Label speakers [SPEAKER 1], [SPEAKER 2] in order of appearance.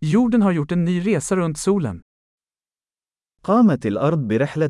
[SPEAKER 1] Jorden har gjort en ny resa runt solen.
[SPEAKER 2] قامت الأرض برحلة